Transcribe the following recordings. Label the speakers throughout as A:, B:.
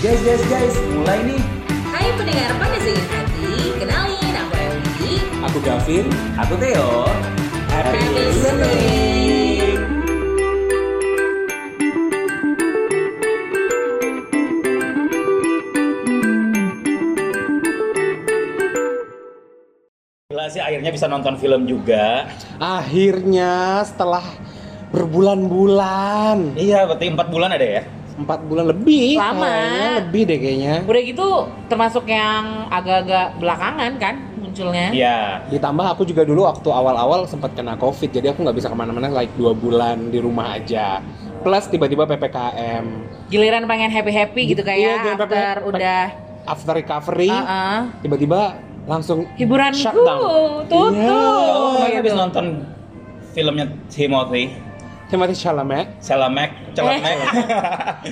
A: Guys, guys, guys, mulai nih.
B: Hai pendengar pada segini hati, kenalin aku Ewi.
A: Aku Gavin, aku Theo. Happy listening. Gila sih akhirnya bisa nonton film juga.
C: Akhirnya setelah berbulan-bulan,
A: Iya, berarti 4 bulan ada ya?
C: empat bulan lebih,
D: Lama.
C: kayaknya, lebih deh kayaknya.
D: Udah gitu termasuk yang agak-agak belakangan kan munculnya.
A: Iya.
C: Ditambah aku juga dulu waktu awal-awal sempat kena covid, jadi aku nggak bisa kemana-mana like dua bulan di rumah aja. Plus tiba-tiba ppkm.
D: Giliran pengen happy-happy gitu
C: Iya,
D: kayak
C: giliran
D: after
C: pengen-
D: udah
C: After recovery,
D: Uh-uh.
C: tiba-tiba langsung
D: hiburanku
C: shutdown.
D: tutup.
A: Oh,
C: Iya.
A: kemarin habis nonton filmnya Timothy.
C: Timothy Chalamet,
A: Celamek, Celamek.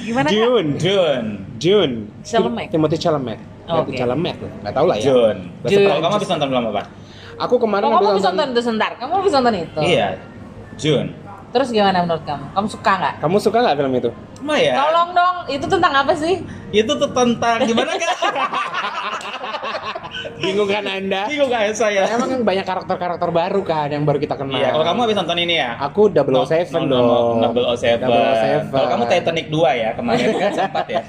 D: Gimana Kak?
C: June,
A: June.
C: June,
D: Chalamet.
C: Timothy Chalamet,
D: Oh,
C: Timothy
D: oke.
C: Chalamet, nggak tahu lah ya.
A: June.
C: Bahasa
D: June.
A: Kalau kamu
C: Perancis.
A: habis nonton film apa?
C: Aku kemarin
D: Oh,
C: habis
D: kamu bisa nonton itu sebentar. Kamu bisa nonton itu.
A: Iya, June.
D: Terus gimana menurut kamu? Kamu suka nggak?
C: Kamu suka nggak film itu?
A: Maya.
D: Tolong dong, itu tentang apa sih?
A: ya? Itu tuh tentang gimana kan?
C: Bingung kan Anda?
A: Bingung kayak saya.
C: Emang kan banyak karakter-karakter baru kan yang baru kita kenal.
A: Iya, kalau kamu habis nonton ini ya?
C: aku 007
A: No, no, no,
C: dong.
A: no, 007.
C: 007.
A: Kalau kamu Titanic 2 ya kemarin kan sempat ya.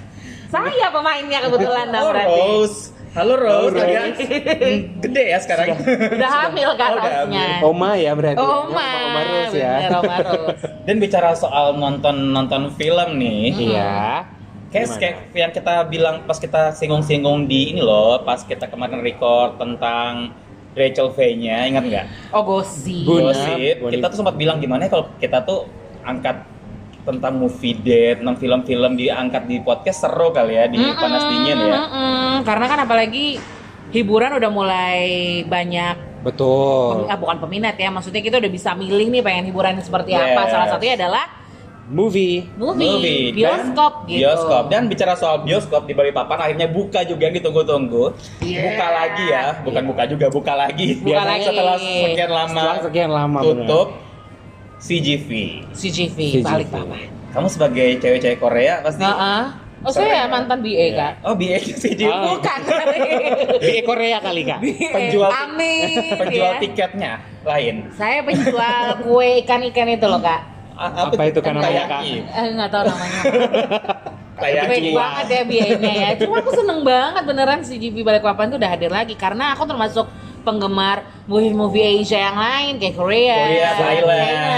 D: Saya pemainnya kebetulan dong
A: Oh,
D: berarti.
A: Rose. Halo Rose.
C: Halo,
A: Lagian, hmm, Gede ya sekarang.
D: Udah hamil kan
A: Oh, udah
D: harusnya.
C: Oma ya berarti.
D: Oma,
C: Oma Rus ya.
D: bener, Oma Rus.
A: Dan bicara soal nonton nonton film nih,
C: Iya.
A: Kayak,
C: Gimana?
A: kayak yang kita bilang pas kita singgung-singgung di ini loh, pas kita kemarin record tentang Rachel V-nya, ingat nggak?
D: Oh gosip.
C: Bun. Benar,
A: Gosip.
C: boleh.
A: Kita tuh sempat bilang gimana kalau kita tuh angkat tentang movie date, tentang film-film diangkat di podcast seru kali ya di
D: Mm-mm,
A: panas dingin ya.
D: mm-mm. Karena kan apalagi hiburan udah mulai banyak
A: Oh.
C: Betul.
D: pem- ah, bukan peminat ya, maksudnya kita udah bisa milih nih pengen hiburan seperti
A: Yes.
D: apa. Salah satunya adalah
C: Movie.
D: movie,
A: Movie.
D: bioskop
A: dan,
D: gitu.
A: Bioskop. Dan bicara soal bioskop di Balikpapan akhirnya buka juga yang ditunggu-tunggu.
D: Iya.
A: Buka lagi ya, bukan buka juga, buka lagi.
D: Buka
A: Biasanya
D: lagi.
A: setelah sekian lama
C: Setelah sekian lama
A: tutup CGV.
D: CGV,
C: CGV.
D: balik papan.
A: Kamu sebagai cewek-cewek Korea pasti
D: Heeh. Oh saya mantan BA kak.
A: Oh, BA CGV.
C: Oh.
D: Bukan.
C: bener. Di Korea kali kak.
A: Penjual-
D: Amin.
A: Penjual
D: ya.
A: tiketnya lain.
D: Saya penjual kue ikan-ikan itu loh kak.
A: A-
C: Apa itu kan namanya, Kak?
A: Taiyaki.
D: Eh, nggak tahu namanya.
A: Taiyaki.
D: Baik banget ya biayanya ya. Cuma aku seneng banget beneran si GB Balikpapan tuh udah hadir lagi karena aku termasuk penggemar movie-movie Asia yang lain kayak Korea,
A: Korea, Thailand.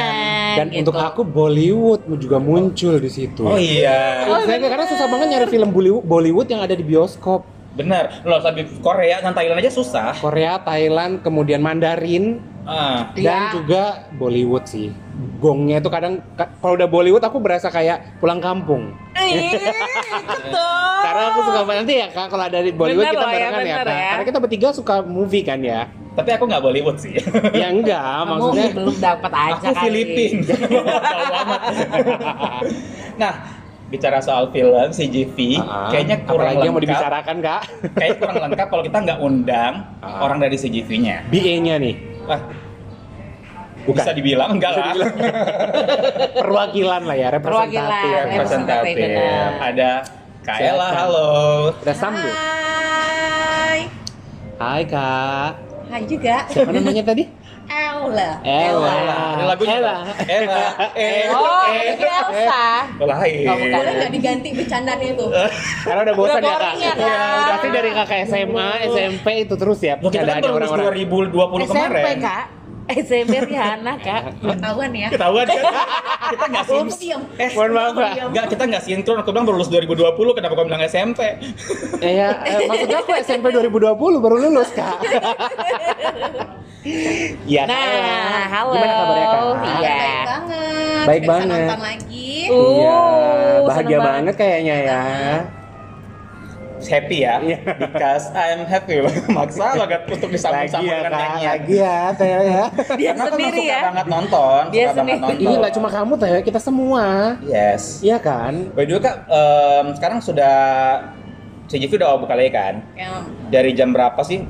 C: Dan
D: gitu.
C: untuk aku Bollywood juga muncul di situ.
A: Oh iya.
D: Oh,
C: Saya
D: bener.
C: karena susah banget nyari film Bollywood- Bollywood yang ada di bioskop.
A: Benar. Loh, tapi Korea dan Thailand aja susah.
C: Korea, Thailand, kemudian Mandarin,
A: Ah.
C: dan
D: Iya.
C: juga Bollywood sih. Gongnya itu kadang ka- kalau udah Bollywood aku berasa kayak pulang kampung.
D: Ih, betul.
C: Karena aku suka banget nanti ya Kak kalau ada di Bollywood
D: Oh. Bener
C: kita
D: loh ya,
C: barengan ya,
D: bener
C: Kak.
D: ya.
C: Karena kita bertiga suka movie kan ya.
A: Tapi aku nggak Bollywood sih.
C: Ya enggak,
D: Kamu gitu.
C: maksudnya
D: belum dapat aja
A: aku
D: kali.
A: Filipin. Jauh amat. nah, bicara soal film CGV,
C: Ah,
A: kayaknya kurang
C: apalagi yang mau
A: lengkap.
C: dibicarakan Kak.
A: Kayaknya kurang lengkap kalau kita nggak undang
C: Ah.
A: orang dari CGV-nya.
C: BA-nya nih.
A: Wah,
C: Bukan.
A: bisa dibilang enggak lah.
C: Perwakilan lah ya, representatif.
D: Perwakilan,
A: Representatif.
D: Benar.
A: Ada Kaela,
C: Silakan.
A: halo.
C: Kita sambut.
B: Hai.
C: Hai Kak.
B: Hai juga.
C: Siapa namanya tadi?
B: Aula.
C: Ella.
A: Ada lagunya.
C: Ella.
A: Ella.
C: Eh,
D: Oh, itu Elsa.
A: Lain.
D: Oh, bukan.
E: Kan
B: Boleh nggak diganti bercandanya itu?
C: Karena udah bosan
D: Udah
C: ya Kak.
D: boring ya, Kak.
C: Iya, Pasti dari kakak SMA, SMP itu terus ya.
A: Loh, kita kan
C: Ada
A: baru lulus
C: orang-orang.
A: 2020
D: SMP
A: kemarin.
D: kak. SMP Rihanna kak.
B: Ketahuan ya.
A: Ketahuan ya? kita nggak
B: Kamu
A: sinkron.
B: diam.
A: Eh,
C: Mohon maaf Kak.
D: Iya.
A: Enggak, kita nggak sinkron. Aku bilang baru lulus 2020, kenapa kamu bilang SMP?
C: Eh, ya, eh, maksudnya aku SMP 2020 baru lulus kak. Iya. Kak Ella.
D: Nah, halo.
C: Gimana kabarnya kak?
B: Baik
D: Iya.
B: banget.
C: Baik
B: Udah bisa
C: banget.
B: nonton lagi.
C: Iya,
D: Uh,
C: bahagia
D: seneng
C: banget. kayaknya ya.
A: Happy ya?
C: Iya.
A: Because I'm happy. Maksa banget untuk
C: Lagi ya
A: disambung-sambungkan
C: kak,
A: nyanyian.
C: lagi ya Teh ya.
D: Dia
A: Karena aku emang
D: sendiri
A: suka
D: ya.
A: banget nonton,
D: Dia
A: suka banget
D: sendiri.
A: nonton.
C: Ini Iya, nggak cuma kamu Teh, kita semua.
A: Yes.
C: Iya kan?
A: By the way, Kak, em, sekarang sudah CGV udah buka lagi kan?
B: Ya.
A: Dari jam berapa sih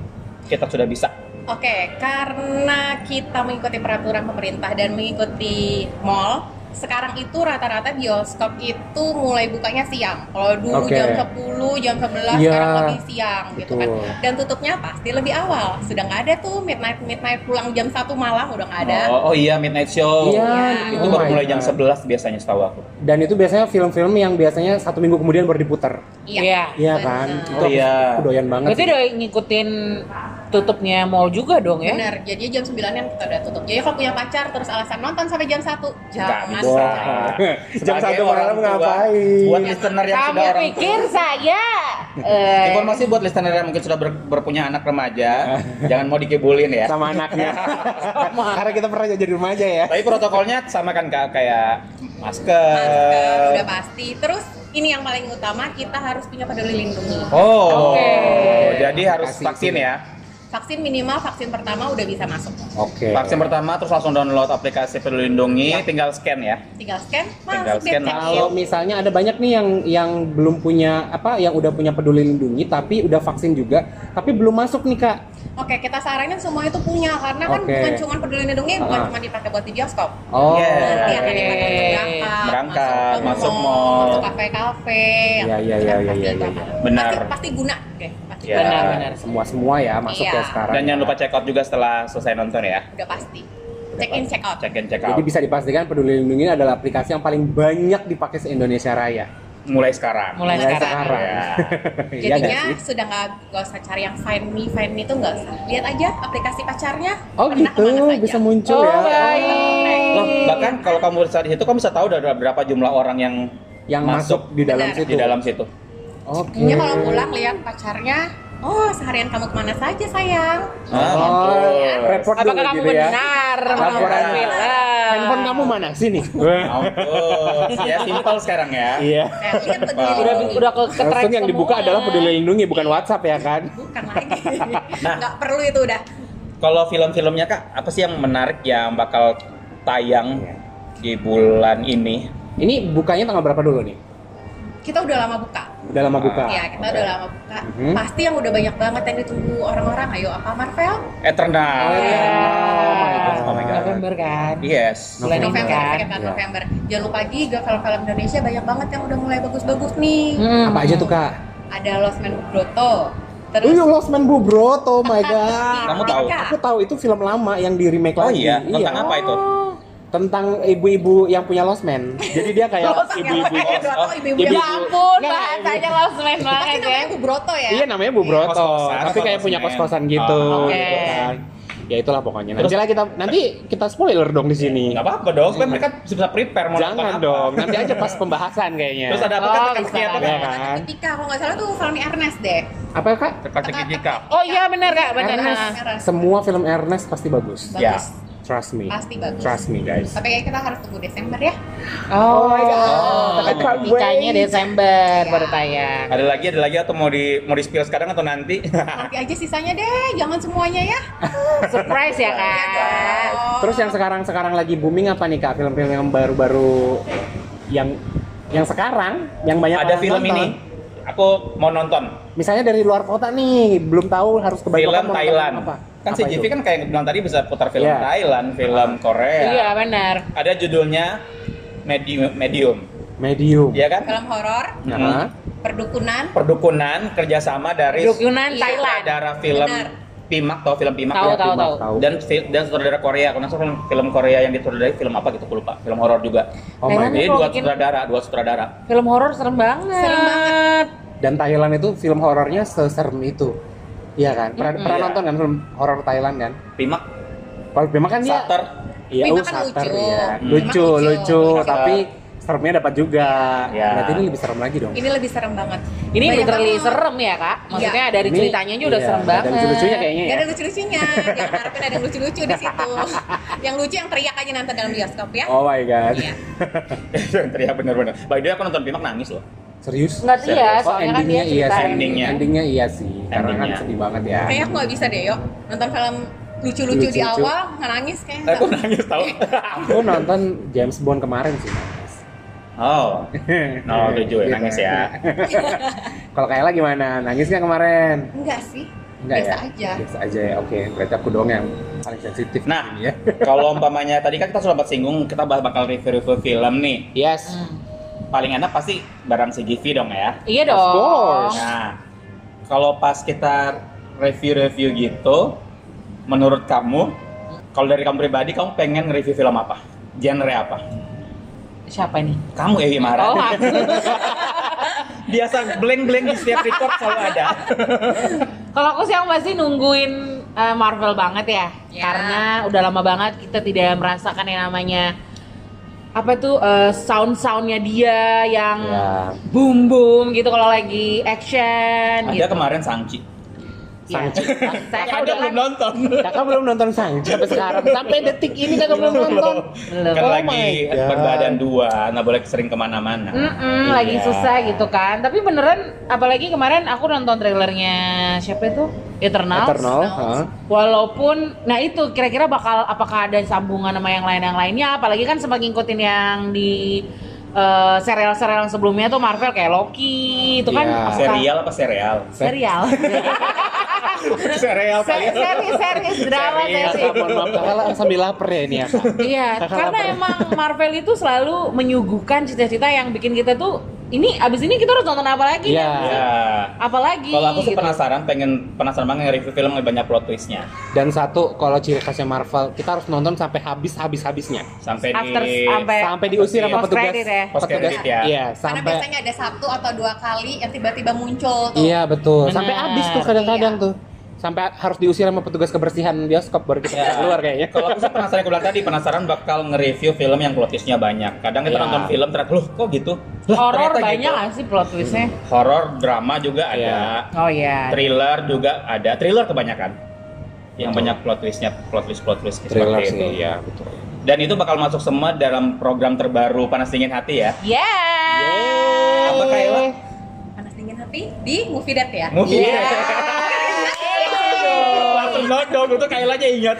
A: kita sudah bisa?
B: Oke, karena kita mengikuti peraturan pemerintah dan mengikuti mall,
E: sekarang itu rata-rata bioskop itu mulai bukanya siang. Kalau dulu
C: Oke.
E: jam 10, jam 11
C: Iya.
E: sekarang lebih siang gitu kan.
C: Betul.
E: Dan tutupnya pasti lebih awal. Sudah nggak ada tuh midnight midnight pulang jam 1 malam udah nggak ada.
A: Oh, oh iya midnight show.
C: Iya.
A: Itu
C: Oh
A: baru
C: my
A: mulai jam
C: God.
A: 11 biasanya setahu aku.
C: Dan itu biasanya film-film yang biasanya satu minggu kemudian baru diputer.
D: Iya.
C: Iya kan?
E: Benar.
C: Itu aku-
A: Iya.
C: aku doyan banget.
D: Berarti
C: sih.
D: udah ngikutin tutupnya mall juga dong ya?
E: Benar, jadinya jam 9-an kita udah tutup. Jadi kalau punya pacar terus alasan nonton sampai jam 1, jangan.
A: Nggak
C: bisa.
E: percaya.
C: Wah. Jam
A: Sebagai
C: satu malam
A: tua,
C: ngapain?
A: Buat listener yang
D: Kamu
A: sudah orang tua.
D: pikir saya? eh,
A: Informasi buat listener yang mungkin sudah ber- berpunya anak remaja, jangan mau dikebulin ya.
C: sama anaknya. Karena kita pernah jadi rumah aja ya.
A: Tapi protokolnya sama kan Kak? kayak
E: Masker
C: Eh.
E: udah
A: masker.
E: pasti. Terus ini yang paling utama kita harus punya peduli lindungi.
A: Oh,
D: Oke.
A: jadi harus
C: Kasih
A: vaksin
C: sini.
A: ya.
E: Vaksin minimal vaksin pertama udah bisa masuk.
C: Oke.
A: Vaksin pertama terus langsung download aplikasi Peduli Lindungi, tinggal scan ya.
E: Tinggal scan,
A: Tinggal
E: masuk deh
A: scan,
E: check
C: Kalau
E: in.
C: misalnya ada banyak nih yang yang belum punya apa yang udah punya peduli lindungi tapi udah vaksin juga tapi belum masuk nih kak.
E: Oke, kita saranin semua itu punya karena kan
C: Oke.
E: bukan cuma peduli lindungi, bukan
C: Ah.
E: cuma dipakai buat di bioskop.
C: Oh.
A: Yes.
E: Nanti akan dipakai untuk
D: Oke.
E: berangkat,
A: Berangkat, masuk mall.
E: masuk kafe-kafe.
C: Iya, iya, iya, iya, iya, iya.
A: Benar.
E: Pasti, pasti guna, oke. Pasti
A: Iya.
E: guna.
D: Benar-benar.
C: Semua semua ya masuk
E: Iya.
C: ya sekarang.
A: Dan jangan
C: ya.
A: lupa check out juga setelah selesai nonton ya.
E: Udah pasti. Check in, check out.
A: Check in, check out.
C: Jadi bisa dipastikan peduli lindungi adalah aplikasi yang paling banyak dipakai se Indonesia Raya.
A: Mulai sekarang.
D: Mulai sekarang.
A: Ya.
C: Iya nggak
E: Jadinya
C: sih?
E: sudah nggak nggak usah cari yang find me, find me itu nggak usah. Lihat aja aplikasi pacarnya.
C: Oh
E: pernah
C: gitu,
E: kemana saja. iya,
C: bisa muncul
D: Oh,
C: ya.
D: baik.
A: Loh, bahkan kalau kamu search di situ kamu bisa tahu ada berapa jumlah orang yang
C: Yang masuk, di dalam
E: Benar.
C: situ.
A: di dalam situ.
C: Oke.
E: Jadinya Iya, kalau pulang lihat pacarnya, oh seharian kamu kemana saja sayang.
A: Ah,
C: Oh,
E: Iya.
A: mampus.
C: report dulu
D: Apakah kamu
C: gitu ya.
D: benar?
C: Laporan.
D: Alhamdulillah.
C: Handphone kamu mana? Sini.
A: Mampus. Ya simpel sekarang ya.
C: Iya.
E: Nah, lihat peduli
D: udah
E: lindungi.
D: udah ke ke
C: Langsung yang
D: track
C: dibuka
D: semua. ya.
C: adalah peduli lindungi bukan WhatsApp ya kan?
E: bukan lagi. Nggak perlu itu udah.
A: Kalau film-filmnya Kak, apa sih yang menarik yang bakal tayang
C: Iya.
A: di bulan ini?
C: Ini bukanya tanggal berapa dulu nih?
E: Kita udah lama buka.
C: Udah lama buka.
E: ya, kita
A: oke.
E: udah lama buka.
C: Mhm.
E: Pasti yang udah banyak banget yang ditunggu orang-orang. Ayo apa Marvel?
A: Eternal.
D: Iya.
A: Oh my God.
D: Ah, November kan?
A: Yes.
D: Bulan ini
E: November,
D: kan?
E: second part
C: Iya.
E: November. Jangan lupa juga film-film Indonesia banyak banget yang udah mulai bagus-bagus nih.
D: Hmm.
C: Apa aja tuh kak?
E: Ada Lost Man Broto. Terus Iya.
C: Uyuh Lost Man Bubrot, oh my god.
A: Kamu tahu?
C: Aku Iya, tahu itu film lama yang di remake
A: Oh
C: lagi.
A: iya, tentang apa itu?
C: Tentang ibu-ibu yang punya Lost Man. Jadi dia kayak ibu-ibu.
E: ya? ibu-ibu.
C: Ibu-
D: Ya ampun,
C: Nggak,
D: bahasanya langsung main
E: Pasti
D: banget ya.
E: namanya Bu Broto ya.
C: Iya namanya Bubroto,
A: Kos-kosan,
C: tapi kayak
A: kos-kosan.
C: punya kos-kosan gitu.
A: Oh,
D: oke.
C: gitu kan. Ya itulah pokoknya. Nanti
A: Terus-
C: lah kita nanti kita spoiler dong di sini.
A: Gak apa-apa dong, kan mereka bisa prepare mau nonton
C: Jangan
A: apa.
C: dong, kan. nanti aja pas pembahasan kayaknya.
A: Terus ada
D: Oh,
A: apa kan
D: bisa.
A: teka-teki apa
C: Iya
A: kan?
C: kan?
E: Ketika kalau nggak salah tuh filmnya Ernest deh.
C: Apa kak?
A: Teka-teki jika.
D: Oh iya benar kak, benar.
C: Ernest.
D: Nah.
E: Ernest.
C: Semua film Ernest pasti bagus.
A: Ya.
E: Bagus.
C: Trust me.
E: Pasti bagus.
C: Trust me guys.
E: Tapi kayaknya kita harus tunggu Desember ya.
D: Oh, my
A: God. I can't
C: wait.
D: Nikahnya Desember baru tayang.
A: Ada lagi, ada lagi atau mau di mau di spill sekarang atau nanti?
E: Nanti aja sisanya deh, jangan semuanya ya.
D: Surprise ya kak.
E: Oh.
C: Terus yang sekarang-sekarang lagi booming apa nih kak? Film-film yang baru-baru yang yang sekarang yang banyak
A: ada
C: orang
A: film
C: nonton.
A: ini. Aku mau nonton.
C: Misalnya dari luar kota nih, belum tahu harus ke
A: film Thailand. Kan
C: Apa
A: CGV
C: itu?
A: kan kayak yang bilang tadi bisa putar film
C: Iya.
A: Thailand, film Korea.
D: Iya benar.
A: Ada judulnya Medium, medium,
C: medium.
A: ya Hmm. kan?
E: film horor,
A: Mm-mm.
C: Nah,
E: perdukunan,
A: Perdukunan kerjasama dari
D: Perdukunan Thailand.
A: sutradara film
E: Benar.
A: Pimak tau film Pimak
D: Tahu
A: ya?
D: tahu
C: Mak,
D: tahu.
C: tahu.
A: dan fi- dan sutradara Korea karena film film Korea yang disutradarai film apa gitu aku lupa film horor juga
C: Oh
D: Thailand
C: my
A: jadi
D: kalau
A: dua
D: bikin
A: sutradara dua sutradara
D: Film horor serem banget.
E: Serem banget.
C: dan Thailand itu film horornya seserem itu. Iya kan? Pernah, pernah
A: Iya.
C: nonton kan film horor Thailand kan?
A: Pimak
C: Kalau memang kan dia
A: Sater
C: Iya, oh,
E: Memang kan
C: sater,
E: lucu.
C: ya.
A: Hmm.
C: Lucu,
E: Memang lucu.
C: lucu,
D: Iya.
E: Lucu.
C: tapi seremnya dapat juga.
A: Ya.
C: Berarti ini lebih serem lagi dong.
E: ini lebih serem banget.
D: Ini
E: Banyak
D: literally
E: banget. Iya.
D: serem ya kak. Maksudnya dari
C: Ini-
D: ceritanya aja udah
C: iya,
D: serem banget. Iya,
C: Dan lucu-lucunya kayaknya ya.
E: Gak ada lucu-lucunya, jangan harapin ada yang lucu-lucu di situ. yang lucu yang teriak aja nanti dalam bioskop ya.
C: Oh my god.
E: Iya.
A: Yang teriak bener-bener by the way aku nonton Pimak nangis loh
C: Serius?
D: Nggak iya,
A: Serius.
C: Oh,
D: soalnya kan dia
C: endingnya iya sih.
D: ceritain.
A: Endingnya.
C: Endingnya iya sih. Karena kan
A: Endingnya.
C: sedih banget ya.
E: Kayak aku gak bisa deh, yuk nonton film lucu-lucu di
C: Lucu-lucu.
E: awal, nggak nangis kayaknya.
A: aku nangis tau
C: Aku nonton James Bond kemarin sih. Iya, gitu. nangis.
A: oh no lucu ya nangis ya
C: Kalau Kayla gimana? Nangis nggak kemarin?
E: Enggak sih,
C: Enggak
E: Biasa
C: ya?
E: aja.
C: Biasa aja ya. Oke, berarti aku doang yang paling sensitif di
A: Nah.
C: sini ya.
A: Kalau umpamanya tadi kan kita sudah sempat singgung kita bah- bakal review-review film nih.
C: Yes.
D: Hmm.
A: Paling enak pasti barang CGV dong ya.
D: Iya
C: Of
D: dong.
C: course.
A: Nah, kalau pas kita review-review gitu, menurut kamu, kalau dari kamu pribadi, kamu pengen review film apa? Genre apa?
D: Siapa ini?
A: Kamu Ewi
D: Oh,
A: Mara.
D: aku.
A: Biasa blank-blank di setiap record selalu ada.
D: Kalau aku sih aku pasti nungguin eh, Marvel banget ya.
E: Ya.
D: Karena udah lama banget kita tidak merasakan yang namanya apa tuh eh, sound-soundnya dia yang
C: Ya.
D: boom boom gitu kalau lagi action
A: ada
D: gitu.
A: kemarin Sangchi.
D: Ya.
C: Sangchi.
D: Saya
A: Kakak
D: kaget
A: udah
D: lah.
A: belum nonton.
C: Kakak belum nonton Sangchi sampai sekarang. Sampai detik ini kakak belum nonton.
D: Belum.
A: Kan
C: Oh
A: lagi
C: my God.
A: berbadan dua, nggak boleh sering kemana-mana.
D: Mm-mm, lagi
C: Iya.
D: susah gitu kan. Tapi beneran apalagi kemarin aku nonton trailernya siapa itu? Eternal.
C: Eternal. heeh.
D: Walaupun, nah itu kira-kira bakal apakah ada sambungan sama yang lain yang lainnya? Apalagi kan sempat ngikutin yang di eh, serial-serial yang sebelumnya tuh Marvel kayak Loki itu kan
C: Iya.
D: apakah-
A: Serial apa serial?
D: serial
A: serial
D: seri seri seri drama
A: Serial.
D: seri
C: Kak, mohon maaf kakak lah sambil lapar ya ini ya. Kak.
D: iya
C: Kakak
D: karena
C: lapar.
D: emang Marvel itu selalu menyuguhkan cita-cita yang bikin kita tuh ini abis ini kita harus nonton apa lagi
C: Iya.
A: Ya.
D: apalagi
A: Kalau aku sih
D: gitu.
A: penasaran, pengen penasaran banget nge-review film lebih banyak plot twistnya
C: Dan satu kalau ciri khasnya Marvel, kita harus nonton sampai habis habis habisnya.
A: sampai
D: After-
A: di
D: sampai- Eh,
C: Sampai diusir sama
D: post
C: petugas.
D: credit ya.
A: Post
C: petugas.
A: credit ya.
C: Iya,
E: Karena
C: sampai
E: biasanya ada satu atau dua kali yang tiba-tiba
D: gitu.
E: muncul tuh.
C: Iya betul. Sampai
D: Benar.
C: habis tuh kadang-kadang
D: Iya.
C: tuh. Sampai harus diusir sama petugas kebersihan bioskop baru kita
A: Ya.
C: bisa keluar kayaknya.
A: Kalau
D: Iya.
A: aku sih penasaran yang aku bilang tadi, penasaran bakal nge-review film yang plot twistnya banyak. Kadang kita
C: Iya.
A: nonton film ternyata loh kok gitu. Lah,
D: horor
A: ternyata gitu.
D: Oh, banyak nggak sih plot twistnya
A: Horor, drama juga ada.
C: Iya.
D: oh iya
A: Thriller juga ada. Thriller kebanyakan. Yang
C: Betul.
A: banyak plot twistnya, plot twist plot twist
C: Thriller
A: seperti
C: sih.
A: itu. Iya.
C: betul.
A: Dan itu bakal masuk semua dalam program terbaru Panas Dingin Hati ya.
D: Iya. yeah
A: Apa Kayla?
E: Panas dingin hati di movie date ya.
A: Mungkin.
D: Iya.
A: Langsung nodong itu Kailanya ingat.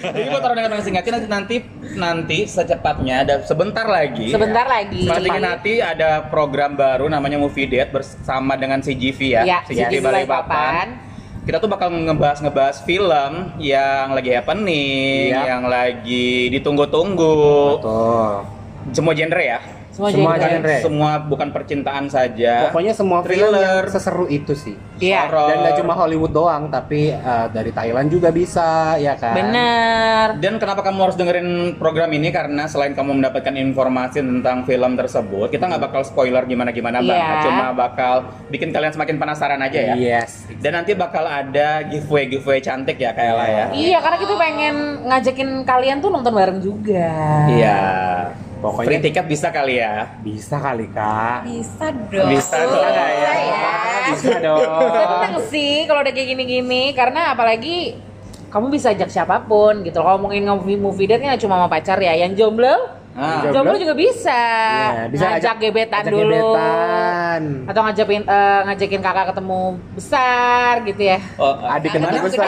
A: Jadi buat orang yang singkatin nanti nanti nanti secepatnya ada sebentar lagi.
D: Sebentar lagi.
A: Iya. Sebentar nanti ada program baru namanya Movie Date bersama dengan CGV ya.
D: Ya,
A: CGV
D: CGV Balikpapan.
A: Kita tuh bakal ngebahas-ngebahas film yang lagi happening,
C: Iya.
A: yang lagi ditunggu-tunggu.
C: Betul.
A: Semua genre ya.
D: Semua,
C: Semua
D: jadi-
C: genre.
A: Semua bukan percintaan saja.
C: Pokoknya semua
A: Ya.
C: film
A: thriller,
C: yang seseru itu sih.
D: Iya.
A: horor.
C: Dan gak cuma Hollywood doang, tapi eh, dari Thailand juga bisa, ya kan?
D: Bener.
A: Dan kenapa kamu harus dengerin program ini? Karena selain kamu mendapatkan informasi tentang film tersebut, kita nggak bakal spoiler gimana-gimana
D: Iya.
A: banget. Cuma bakal bikin kalian semakin penasaran aja ya.
C: Yes.
A: Dan nanti bakal ada giveaway giveaway cantik ya kayak lah ya.
D: Iya, karena kita pengen ngajakin kalian tuh nonton bareng juga.
A: Iya.
C: Pokoknya-
A: Free tiket bisa kali ya.
C: Bisa kali, Kak.
E: Bisa dong.
A: Bisa dong.
E: Bisa ya.
C: Bisa dong.
D: Seneng sih kalau udah kayak gini-gini, karena apalagi kamu bisa ajak siapapun gitu. Kalau ngomongin movie movie date kan nggak cuma sama pacar ya, yang jomblo
A: Ah.
C: Jomblo?
D: Jomblo juga bisa.
C: Iya, bisa
D: ngajak
C: ajak-
D: gebetan
C: ajak
D: dulu.
C: gebetan.
D: Atau ngajakin eh, ngajakin kakak ketemu besar gitu ya.
A: Oh,
C: Adik kenal
E: Anak
C: besar.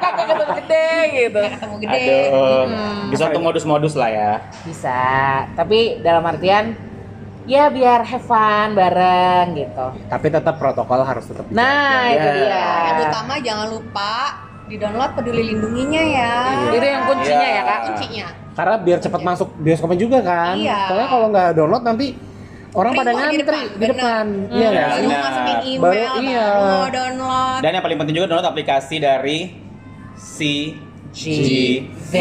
D: Kakak ketemu gede gitu.
E: ya, Ketemu gede.
A: aduh. Bisa untuk modus-modus lah ya.
D: Bisa, tapi dalam artian ya biar have fun bareng gitu.
C: Tapi tetap protokol harus tetap dijaga.
D: Nah, itu
C: iya.
D: dia.
E: Iya. Yang utama jangan lupa di download peduli lindunginya ya.
D: Itu yang kuncinya
A: Iya.
D: ya, Kak.
E: Kuncinya.
C: Karena biar cepat masuk bioskopnya juga kan.
E: Iya.
C: Soalnya kalau nggak download nanti orang
E: Print
C: pada
E: kok di
C: ngantri
E: depan,
C: di
E: bener.
C: depan. Iya
A: Hmm.
C: nggak sih?
E: Baru
A: Benar.
E: masukin email,
C: Baru-
E: baru,
C: iya.
E: download.
A: Dan yang paling penting juga download aplikasi dari CGV.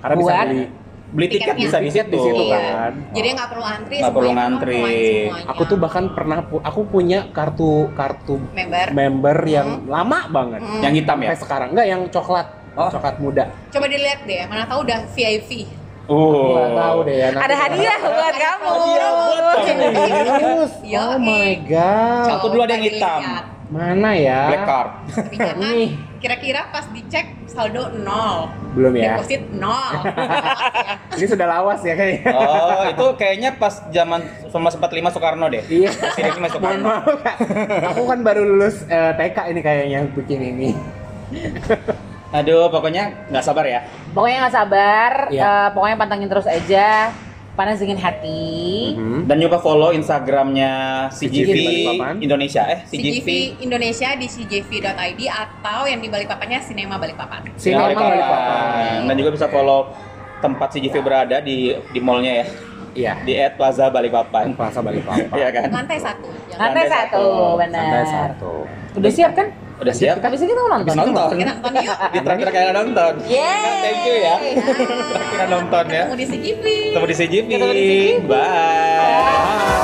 C: Karena bisa
D: Buat
C: beli
A: Beli tiket
E: Tiketnya.
A: bisa di situ.
C: Di situ,
E: Iya.
C: kan?
E: Jadi nggak perlu antri.
A: Nggak perlu
E: semuanya,
A: ngantri.
E: online semuanya.
C: Aku tuh bahkan pernah pu- aku punya kartu kartu
E: member.
C: member yang lama banget.
E: Hmm.
A: Yang hitam ya.
C: Sampai sekarang enggak yang coklat,
A: Oh.
C: coklat muda.
E: Coba dilihat deh, mana tahu udah VIP.
A: Oh.
C: Nggak tahu deh ya. nanti-
D: Ada hadiah buat kamu.
A: Hadiah buat kamu.
C: Serius?
E: Yo,
C: oh my
E: eh.
C: god.
A: Satu dulu ada yang
E: Coba
A: hitam.
E: dilihat.
C: Mana ya?
A: Black card.
E: Tapi jangan
C: Nih.
E: kira-kira pas dicek saldo nol.
C: Belum ya.
E: Deposit nol. Awas ya.
C: Ini sudah lawas ya kayaknya.
A: Oh, itu kayaknya pas zaman 1945 Soekarno deh.
C: Iya.
A: Sidangnya masuk
C: Mohon maaf kak, aku kan baru lulus eh, TK ini kayaknya bikin ini.
A: Aduh, pokoknya nggak sabar ya.
D: Pokoknya nggak sabar,
C: Iya.
D: eh, pokoknya pantangin terus aja. Panas Dingin Hati.
C: Mhm.
A: Dan juga follow Instagramnya CGV
C: CGV.
A: Indonesia eh CGV.
E: CGV Indonesia di cgv.id atau yang di Balikpapannya Sinema Balikpapan.
C: Sini
A: Sinema
C: emang
A: Balikpapan.
C: Balikpapan.
A: Dan juga bisa follow tempat CGV berada di di mallnya ya
C: Iya.
A: di at Plaza
C: Kan
A: Balikpapan.
C: Plaza Balikpapan.
A: Iya kan?
E: Lantai satu. Jangan.
D: Lantai
A: Lantai
D: satu,
A: satu.
C: Lantai
D: benar.
C: satu.
D: Udah siap kan?
A: Udah siap?
D: Tapi sih kita gitu mau
A: Habis
D: nonton.
A: nonton.
E: Kita nonton yuk.
A: Di terakhir kalian nonton.
D: Yeay.
A: Thank you ya. Kita nonton ya.
E: Ketemu di CGV.
A: Ketemu di CGV.
D: Ketemu di CGV.
A: Bye.